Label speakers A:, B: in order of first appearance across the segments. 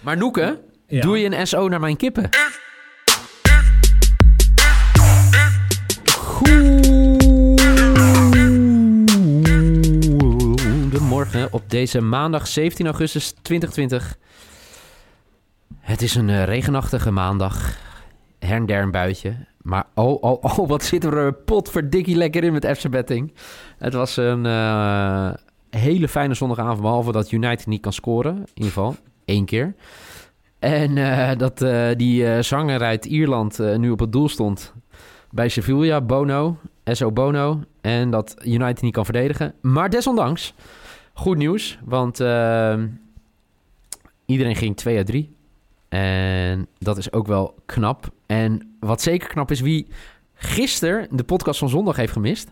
A: Maar Noeke,
B: Ja.
A: doe je een SO naar mijn kippen? Goedemorgen op deze maandag 17 augustus 2020. Het is een eh, regenachtige maandag. Her en der een buitje. Maar oh, oh, oh, wat zitten we er potverdikkie lekker in met FC Betting. Het was een eh, hele fijne zondagavond, behalve dat United niet kan scoren. In ieder geval, één keer. En eh, dat eh, die eh, zanger uit Ierland eh, nu op het doel stond bij Sevilla, Bono, SO Bono. En dat United niet kan verdedigen. Maar desondanks, goed nieuws, want eh, iedereen ging 2 uit 3. En dat is ook wel knap. En wat zeker knap is, wie gisteren de podcast van zondag heeft gemist.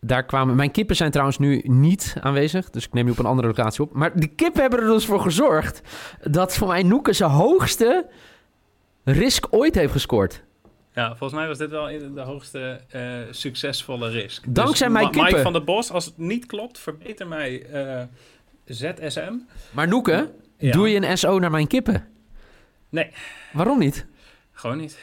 A: Daar kwamen, mijn kippen zijn trouwens nu niet aanwezig, dus ik neem nu op een andere locatie op. Maar de kippen hebben er dus voor gezorgd dat voor mij Noeke zijn hoogste risk ooit heeft gescoord.
C: Ja, volgens mij was dit wel in- de hoogste eh, succesvolle risk. Dus
A: Dankzij mijn
C: Ma- Mike
A: kippen.
C: van der Bos, als het niet klopt, verbeter mij eh, ZSM.
A: Maar Noeke,
B: Ja.
A: doe je een SO naar mijn kippen?
C: Nee.
A: Waarom niet?
C: Gewoon niet.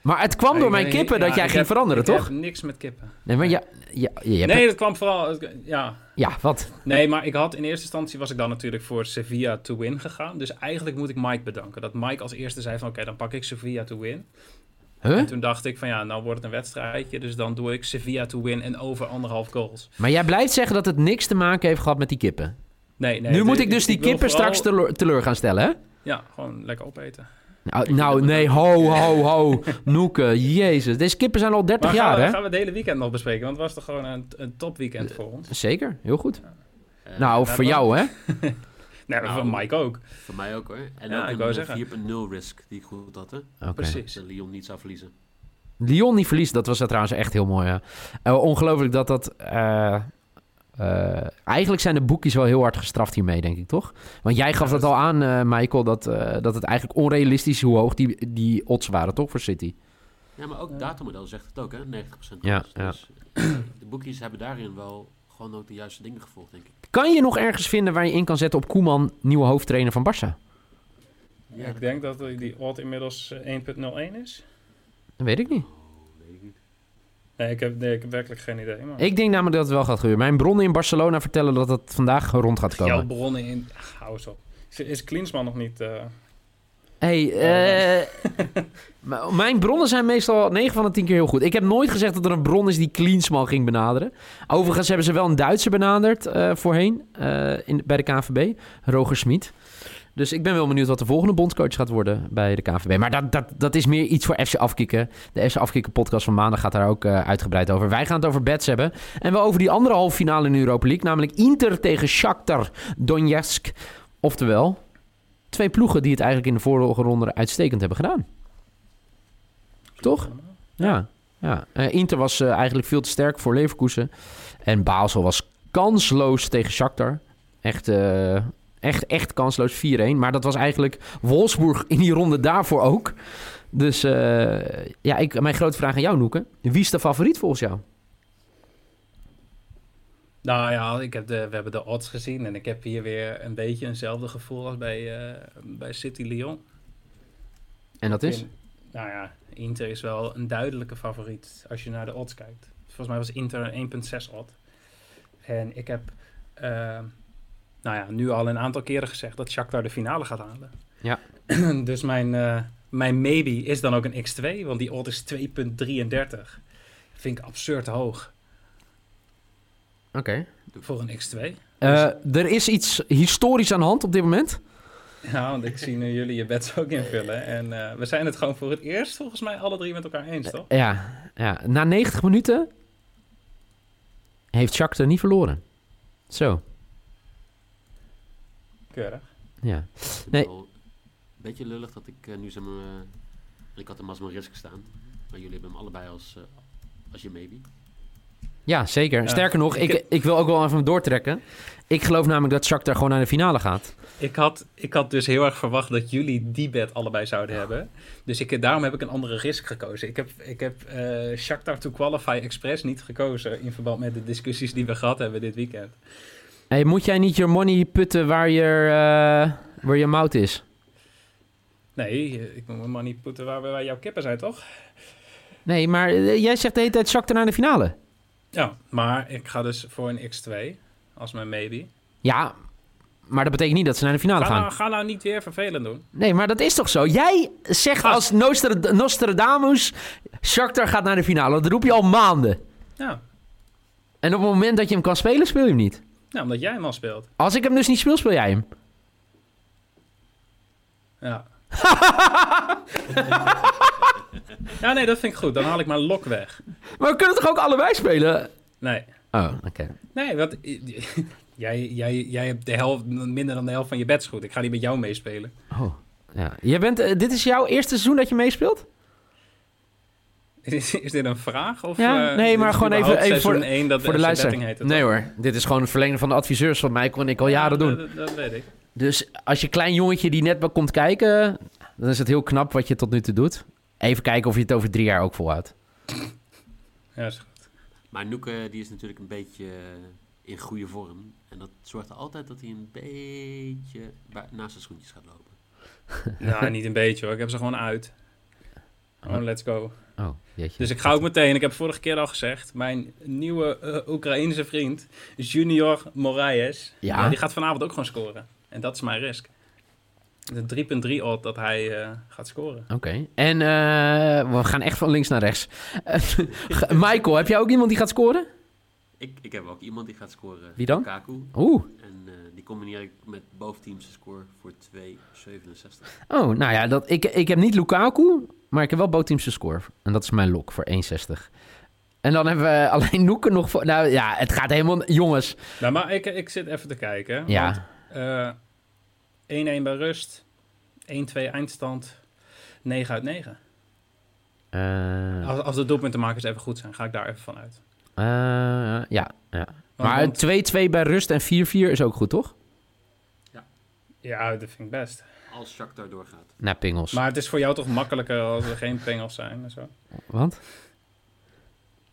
A: Maar het kwam door
C: Ik-
A: mijn
C: ik-
A: kippen
C: ja,
A: dat jij
C: ik
A: ging
C: heb-
A: veranderen,
C: ik
A: toch?
C: heb niks met kippen.
A: Nee, maar ja, ja, je hebt
C: nee,
A: het-
C: dat kwam vooral... Ja.
A: ja, wat?
C: Nee, maar ik had in eerste instantie was ik dan natuurlijk voor Sevilla to win gegaan. Dus eigenlijk moet ik Mike bedanken. Dat Mike als eerste zei van oké, dan pak ik Sevilla to win.
A: Huh?
C: En toen dacht ik van ja, nou wordt het een wedstrijdje. Dus dan doe ik Sevilla to win en over anderhalf goals.
A: Maar jij blijft zeggen dat het niks te maken heeft gehad met die kippen.
C: Nee, nee.
A: nu
C: het-
A: moet ik dus die
C: wil
A: kippen
C: vooral-
A: straks teleur, teleur gaan stellen, hè?
C: Ja, gewoon lekker opeten.
A: Nou, nou, nee, ho, ho, ho. Noeke, jezus. Deze kippen zijn al 30
C: Maar
A: jaar,
C: gaan, we,
A: hè?
C: gaan we het hele weekend nog bespreken? Want het was toch gewoon een, een topweekend voor ons?
A: Zeker, heel goed. nou,
D: Eh,
C: ja,
A: voor
C: dat-
A: jou, hè?
C: Nee, maar voor
D: Nou,
C: Mike ook.
D: Voor mij ook hoor. En
C: Ja,
D: ook
C: ik
D: een
C: wou
D: eh,
C: zeggen.
D: 4.0 risk die ik goed had. Hè?
A: Oké.
C: Precies.
D: Dat Lyon niet zou verliezen.
A: Lyon niet verliest, dat was trouwens echt heel mooi. Ja. Eh, ongelooflijk dat dat... eh, eh, eigenlijk zijn de boekjes wel heel hard gestraft hiermee, denk ik, toch? Want jij gaf dat al aan, eh, Michael, dat, eh, dat het eigenlijk onrealistisch is hoe hoog die, die odds waren, toch, voor City?
D: Ja, maar ook datamodel zegt het ook, hè? 90% kans.
A: Ja, ja.
D: Dus eh, de boekjes hebben daarin wel gewoon ook de juiste dingen gevolgd, denk ik.
A: Kan je nog ergens vinden waar je in kan zetten op Koeman, nieuwe hoofdtrainer van Barça?
C: Ja, ik denk dat die odd inmiddels eh, 1.01 is.
A: Dat weet ik niet.
C: Nee ik, heb, nee, ik heb werkelijk geen idee. Maar
A: Ik denk namelijk dat het wel gaat gebeuren. Mijn bronnen in Barcelona vertellen dat het vandaag rond gaat komen.
C: Jouw bronnen in... Ach, hou eens op. Is- Is Klinsman nog niet... eh,
A: Hey, eh, m- mijn bronnen zijn meestal 9 van de 10 keer heel goed. Ik heb nooit gezegd dat er een bron is die Klinsman ging benaderen. Overigens hebben ze wel een Duitser benaderd eh, voorheen eh, in, bij de KVB, Roger Smit. Dus ik ben wel benieuwd wat de volgende bondscoach gaat worden bij de KVB. Maar dat, dat, dat is meer iets voor FC Afkikken. De FC Afkikken podcast van maandag gaat daar ook eh, uitgebreid over. Wij gaan het over bets hebben. En wel over die andere halve finale in de Europa League. Namelijk Inter tegen Shakhtar Donetsk. Oftewel, twee ploegen die het eigenlijk in de vorige ronde uitstekend hebben gedaan. Toch? Ja. ja. Eh, Inter was eh, eigenlijk veel te sterk voor Leverkusen. En Basel was kansloos tegen Shakhtar. Echt, eh, echt, echt kansloos 4-1. Maar dat was eigenlijk Wolfsburg in die ronde daarvoor ook. Dus eh, ja, ik, mijn grote vraag aan jou, Noeke. Wie is de favoriet volgens jou?
C: Nou ja, ik heb de, we hebben de odds gezien. En ik heb hier weer een beetje eenzelfde gevoel als bij, eh, bij City Lyon.
A: En dat is?
C: In- nou ja, Inter is wel een duidelijke favoriet als je naar de odds kijkt. Volgens mij was Inter een 1.6 odd. En ik heb eh, nou ja, nu al een aantal keren gezegd dat Shakhtar de finale gaat halen.
A: Ja.
C: dus mijn, eh, mijn maybe is dan ook een x2, want die odd is 2.33. Vind ik absurd hoog
A: Oké. Eh,
C: voor een x2.
A: er is iets historisch aan de hand op dit moment.
C: Ja, want ik zie nu jullie je bets ook invullen. En eh, we zijn het gewoon voor het eerst volgens mij alle drie met elkaar eens, toch?
A: Ja, ja. na 90 minuten heeft Shakhtar niet verloren. Zo,
C: Keurig.
A: ja.
D: Ik
A: Nee.
D: bedoel, beetje lullig dat ik eh, nu zeg maar... eh, ik had een Masmarisk staan. Maar jullie hebben hem allebei als, eh, als je maybe.
A: Ja, zeker.
C: Ja.
A: Sterker nog, ik, ik wil ook wel even doortrekken. Ik geloof namelijk dat Shakhtar gewoon naar de finale gaat.
C: Ik had, ik had dus heel erg verwacht dat jullie die bet allebei zouden hebben. Dus ik, daarom heb ik een andere risk gekozen. Ik heb, ik heb eh Shakhtar to Qualify Express niet gekozen... in verband met de discussies die we gehad hebben dit weekend.
A: Hey, moet jij niet je money putten waar je, eh, waar je mout is?
C: Nee, eh, ik moet mijn money putten waar, waar jouw kippen zijn, toch?
A: Nee, maar eh, jij zegt de hele tijd Shakhtar naar de finale.
C: Ja, maar ik ga dus voor een X2 als mijn maybe.
A: Ja, maar dat betekent niet dat ze naar de finale
C: Ga
A: gaan.
C: nou, ga nou niet weer vervelend doen.
A: Nee, maar dat is toch zo? Jij zegt
C: Gast.
A: als Nostra- Nostradamus... Shakhtar gaat naar de finale. Dat roep je al maanden.
C: Ja,
A: En op het moment dat je hem kan spelen, speel je hem niet.
C: nou, omdat jij hem al speelt.
A: Als ik hem dus niet speel, speel jij hem.
C: Ja. ja, nee, dat vind ik goed. Dan haal ik mijn lok weg.
A: Maar we kunnen toch ook allebei spelen?
C: Nee,
A: Oh, oké.
C: nee, want jij, jij, jij hebt de helft, minder dan de helft van je bets goed. Ik ga die met jou meespelen.
A: Oh, ja. Jij bent, eh, dit is jouw eerste seizoen dat je meespeelt?
C: Is, is dit een vraag? Of,
A: Ja,
C: eh,
A: nee,
C: dit
A: maar
C: is
A: gewoon even-
C: überhaupt
A: even voor de-
C: seizoen één dat
A: voor de
C: FC
A: luisteraar.
C: Betting heet het
A: Nee
C: dan?
A: hoor, dit is gewoon een verlenging van de adviseurs van mij. Kon ik al
C: Ja,
A: jaren doen.
C: Dat, dat weet ik.
A: Dus als je klein jongetje die net maar komt kijken, dan is het heel knap wat je tot nu toe doet. Even kijken of je het over drie jaar ook volhoudt.
C: Ja, is goed.
D: Maar Noeke die is natuurlijk een beetje eh, in goede vorm. En dat zorgt er altijd dat hij een beetje ba- naast zijn schoentjes gaat lopen.
C: nou, niet een beetje hoor. Ik heb ze gewoon uit. Gewoon let's go.
A: Oh, jeetje.
C: Dus ik ga ook meteen, ik heb vorige keer al gezegd, mijn nieuwe eh, Oekraïense vriend, Junior Moraes,
A: Ja.
C: die gaat vanavond ook gewoon scoren. En dat is mijn risk. De 3.3 odd dat hij eh, gaat scoren.
A: Oké. En eh, we gaan echt van links naar rechts. Michael, heb jij ook iemand die gaat scoren?
D: Ik, ik heb ook iemand die gaat scoren.
A: Wie dan?
D: Kaku.
A: Oeh.
D: En eh, die combineer ik met boventeamse score voor 2,67.
A: Oh, nou ja, dat, ik, ik heb niet Lukaku, maar ik heb wel Bootteamse score. En dat is mijn lok voor 1,60. En dan hebben we alleen Noeken nog voor... Nou ja, het gaat helemaal... Jongens.
C: Nou, maar ik, ik zit even te kijken. Want,
A: Ja,
C: eh, 1-1 bij rust, 1-2 eindstand, 9 uit 9.
A: eh,
C: Als, als de doelpuntenmakers even goed zijn, ga ik daar even van uit.
A: eh, ja, ja.
C: Want-
A: Maar 2-2
C: want-
A: bij rust en 4-4 is ook goed, toch?
C: ja, dat vind ik best.
D: Als Shakhtar doorgaat.
A: Nou, pingels.
C: Maar het is voor jou toch makkelijker als er geen pengels zijn en zo.
A: Want?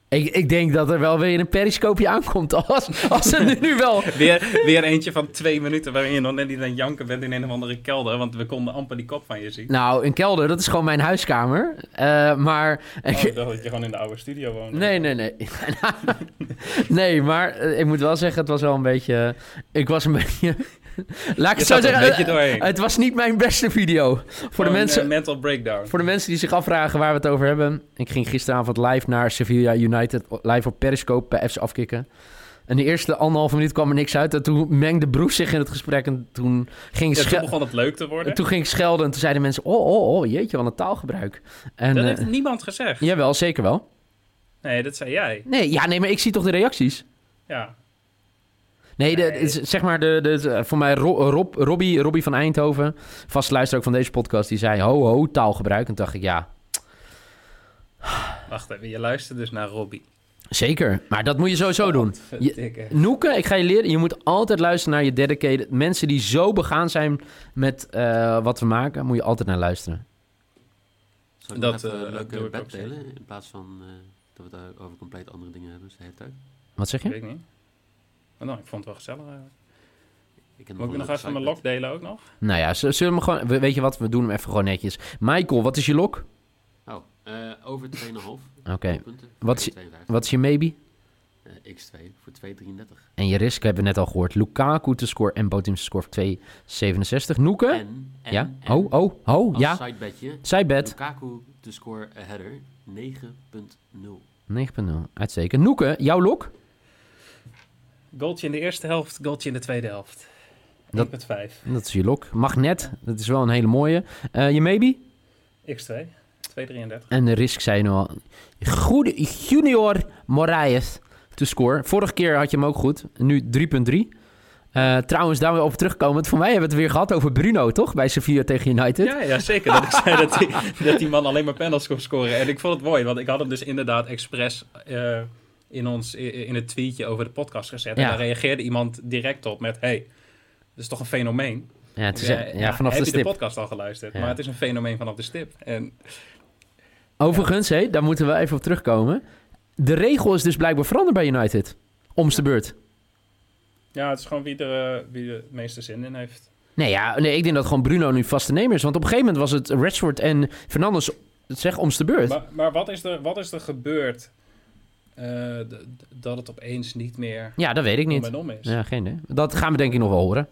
A: Ik, ik denk dat er wel weer een periscoopje aankomt. Als, als er nu wel...
C: Weer, weer eentje van twee minuten waarin je nog net niet aan het janken bent in een of andere kelder. Want we konden amper die kop van je zien.
A: Nou, een kelder, dat is gewoon mijn huiskamer. Eh, maar...
C: Oh, ik dacht dat je gewoon in de oude studio woonde.
A: Nee, nee, nee. nee, maar eh, ik moet wel zeggen, het was wel een beetje... eh, Ik was een beetje... Laat ik
C: Je
A: het zo
C: zat er
A: zeggen.
C: een beetje
A: eh,
C: doorheen.
A: Het was niet mijn beste video. Voor de,
C: Gewoon,
A: mensen,
C: eh, mental breakdown.
A: voor de mensen die zich afvragen waar we het over hebben. Ik ging gisteravond live naar Sevilla United. Live op Periscope bij FC Afkikken. En de eerste anderhalve minuut kwam er niks uit. En toen mengde Broes zich in het gesprek. En toen ging ik,
C: Ja,
A: schel-
C: toen begon het leuk te worden.
A: en toen ging ik schelden. En toen zeiden mensen... Oh, oh, oh, jeetje, wat een taalgebruik. En,
C: dat
A: eh,
C: heeft niemand gezegd.
A: Jawel, zeker wel.
C: Nee, dat zei jij.
A: Nee, ja, nee, maar ik zie toch de reacties.
C: Ja.
A: Nee, de,
C: Nee.
A: is- zeg maar, de, de, de- voor mij Ro- Rob, Robbie, Robbie van Eindhoven, vast luister ook van deze podcast, die zei ho ho taalgebruik. En toen dacht ik, ja,
C: Wacht even, je luistert dus naar Robbie. Oh,
A: zeker. Maar dat moet je sowieso doen.
C: Godverdikke.
A: Noeke, ik ga je leren, je moet altijd luisteren naar je dedicated. Mensen die zo begaan zijn met eh, wat we maken, moet je altijd naar luisteren.
D: Zal ik
C: Dat,
D: dat, even
C: eh,
D: een
C: doe
D: leuke
C: ik ook
D: bed
C: zeker.
D: delen? In plaats van eh, dat we het over compleet andere dingen hebben. Dus de hele tijd.
A: Wat zeg
C: Ik
A: je?
C: weet niet. Maar nou, ik vond het wel gezellig eigenlijk.
D: Ik heb
C: Moet ik
D: een
C: nog
D: leuke
C: even mijn
D: sidebed.
C: lok delen ook nog?
A: Nou ja, z- zullen we hem gewoon, we- weet je wat, we doen hem even gewoon netjes. Michael, wat is je lok?
D: Oh, eh, over 2,5.
A: Oké,
D: punten.
A: Wat is- wat is je maybe?
D: X2 voor 2,33.
A: En je risk hebben we net al gehoord. Lukaku te scoren en Botim te scoren voor 2,67. Noeke?
D: En, en,
A: ja?
D: en
A: oh, oh, oh,
D: als
A: ja.
D: sidebedje,
A: Zijbed
D: Lukaku de score a header 9,0.
A: 9.0. Uitstekend. Noeke, jouw lok?
C: Goaltje in de eerste helft, goaltje in de tweede helft.
A: Dat-
C: 1.5.
A: Dat is je lok. Magnet, dat is wel een hele mooie. Eh, je maybe?
C: X2. 2.33.
A: En de risk zei je nu al. Goede junior Moraes te scoren. Vorige keer had je hem ook goed. Nu 3.3. Eh, trouwens, daar weer op terugkomend. Voor mij hebben we het weer gehad over Bruno, toch? Bij Sevilla tegen United.
C: Ja, ja, zeker. Dat ik zei dat die, dat die man alleen maar panels kon scoren. En ik vond het mooi, want ik had hem dus inderdaad expres eh, in, ons, i- in het tweetje over de podcast gezet.
A: Ja.
C: En daar reageerde iemand direct op met... hey, dat is toch een fenomeen?
A: Ja, het is, eh,
C: Ik zei,
A: ja, vanaf
C: heb
A: de
C: je
A: stip.
C: de podcast al geluisterd?
A: Ja.
C: Maar het is een fenomeen vanaf de stip. En
A: Overigens, hé, daar moeten we even op terugkomen. De regel is dus blijkbaar veranderd bij United. Omste beurt.
C: ja, het is gewoon wie er, eh, wie er het meeste zin in heeft.
A: Nee, ja, nee, ik denk dat gewoon Bruno nu vaste nemer is. Want op een gegeven moment was het Rashford en Fernandes, zeg, omste beurt.
C: Maar, maar wat, is er, wat is er gebeurd eh, d- d- dat het opeens niet meer
A: ja, dat weet ik
C: om
A: niet.
C: en om Oh, is?
A: Ja, geen idee. Dat gaan we denk ik nog wel horen.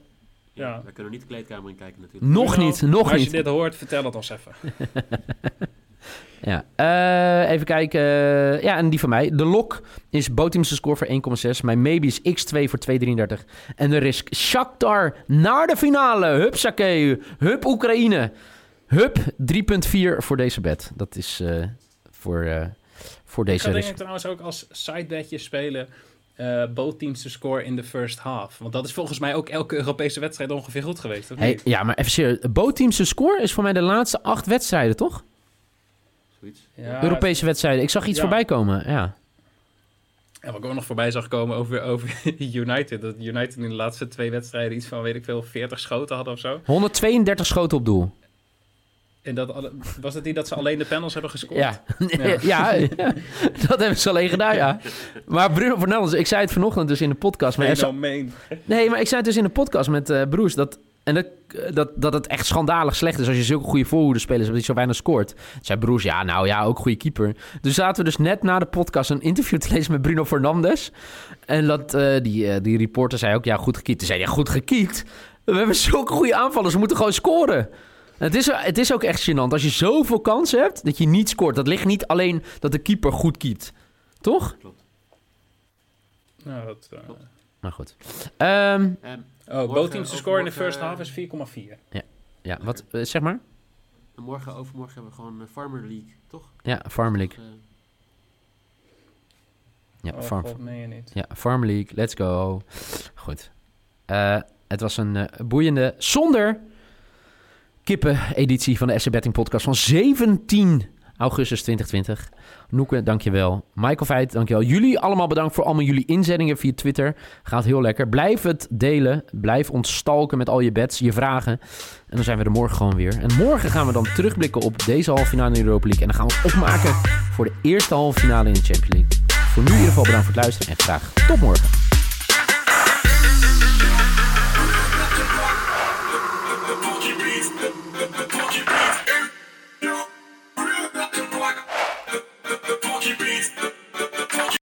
C: Ja.
D: We kunnen niet de kleedkamer in kijken natuurlijk.
A: Nog
C: Bruno,
A: niet, nog
C: Als
A: niet.
C: je dit hoort, vertel het ons even.
A: Ja, eh, even kijken. Eh, ja, en die van mij. De lok is Botimse score voor 1,6. Mijn maybe is x2 voor 2,33. En de risk Shakhtar naar de finale. Hup Sakeu. Hup Oekraïne. Hup 3,4 voor deze bet. Dat is eh, voor, eh, voor
C: Ik
A: deze
C: ga denk
A: risk.
C: ik trouwens ook als sidebedje spelen. eh both teams to score in the first half. Want dat is volgens mij ook elke Europese wedstrijd ongeveer goed geweest. Of
A: Hey,
C: niet?
A: ja, maar even serieus. Botimse score is voor mij de laatste acht wedstrijden, toch?
D: Zoiets.
C: Ja,
A: Europese wedstrijden. Ik zag iets
C: Ja.
A: voorbij komen. Ja.
C: En wat ik ook nog voorbij zag komen over, over United. Dat United in de laatste twee wedstrijden iets van, weet ik veel, 40 schoten hadden of zo.
A: 132 schoten op doel.
C: En dat, alle- was het niet dat ze alleen de panels hebben gescoord?
A: Ja.
C: Ja.
A: ja, ja. dat hebben ze alleen gedaan, ja. Maar Bruno Fernandes, ik zei het vanochtend dus in de podcast. Maar FC
C: Fenomeen.
A: nee, maar ik zei het dus in de podcast met eh Broes. Dat, en dat, dat, dat het echt schandalig slecht is als je zulke goede voorhoedenspelers hebt die zo weinig scoort. Toen zei Broes, ja, nou ja, ook goede keeper. Dus zaten we dus net na de podcast een interview te lezen met Bruno Fernandes. En dat, eh, die, eh, die reporter zei ook, ja, goed gekiept. Toen zei hij, ja, goed gekiept. We hebben zulke goede aanvallers, we moeten gewoon scoren. En Het is, het is ook echt gênant. Als je zoveel kansen hebt dat je niet scoort. Dat ligt niet alleen dat de keeper goed keept. Toch?
C: Nou, dat, eh,
D: Klopt.
A: Maar goed. Ehm,
C: oh,
D: Ehm, Morgen- eh,
C: both teams to score in the
D: overmorgen-
C: first half is 4,4.
A: ja, wat eh, zeg maar?
D: en morgen, overmorgen hebben we gewoon eh, Farmer League, toch?
A: Ja, Farm League.
D: Eh,
A: Ja,
C: oh,
A: farm,
C: God, meen je niet.
A: ja, Farm League. Let's go. Goed. Eh, het was een eh, boeiende, zonder kippen editie van de FC Betting Podcast van 17 augustus 2020. Noeke, dankjewel. Michael Veit, dankjewel. Jullie allemaal bedankt voor allemaal jullie inzendingen via Twitter. Gaat heel lekker. Blijf het delen. Blijf ons stalken met al je bets, je vragen. En dan zijn we er morgen gewoon weer. En morgen gaan we dan terugblikken op deze halve finale in de Europa League. En dan gaan we opmaken voor de eerste halve finale in de Champions League. Voor nu in ieder geval bedankt voor het luisteren en graag tot morgen.